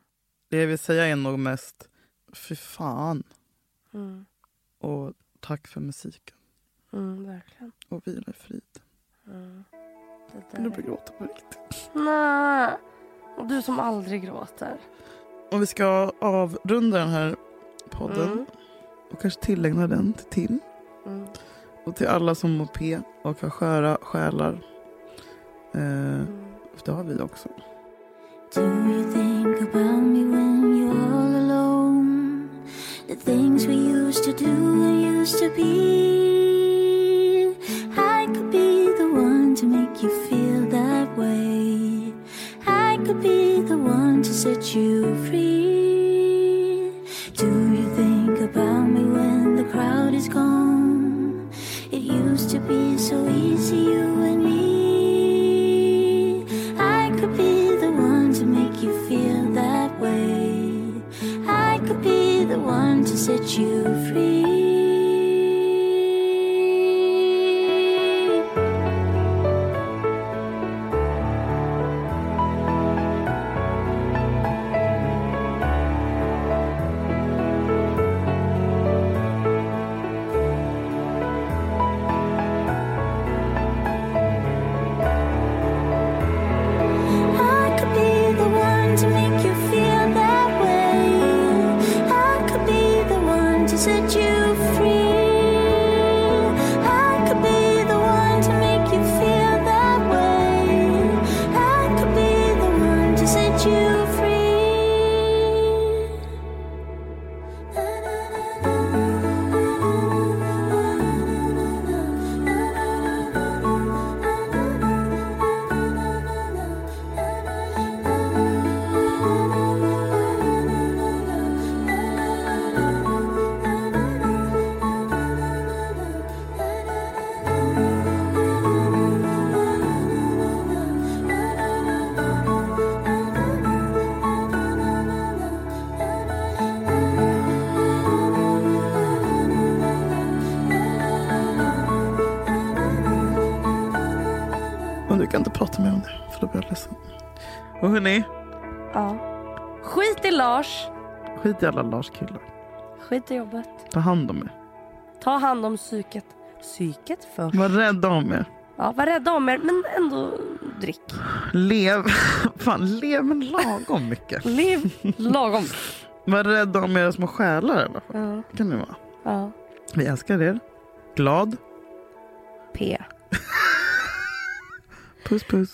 Det jag vill säga är nog mest, fy fan
Mm.
och tack för musiken
Mm, verkligen.
och vila i frid.
Mm. Det
Jag
där.
vill
är-
börja gråta på riktigt.
Nej. Och du som aldrig gråter.
Och vi ska avrunda den här podden
Mm.
och kanske tillägna den till Tim.
Mm.
Och till alla som mår P och har sköra själar. Eh,
Mm.
det har vi också.
Do you think about me when you're all alone? The things we used to do and used to be. I could be the one to make you feel that way. I could be the one to set you free. Do you think about me when the crowd is gone? It used to be so easy, you and me. I could be the one to make you feel that way. I could be the one to set you free. I could be the one to make you feel that way. I could be the one to set you free. I could be the one to make you feel that way. I could be the one to set you free.
Men du kan inte prata mer om det, för då blir jag ledsen. Och hörni,
Ja. Skit i Lars.
skit i alla Lars killar.
Skit i jobbet.
Ta hand om er.
Ta hand om psyket. Psyket för.
Var rädda om er.
Ja, var rädda om er, men ändå drick.
Lev, fan, lev men lagom mycket.
Lev lagom.
Var rädda om era små själar i alla fall.
Ja,
Det kan ni vara.
ja.
Vi älskar er. Glad.
P.
Puss puss.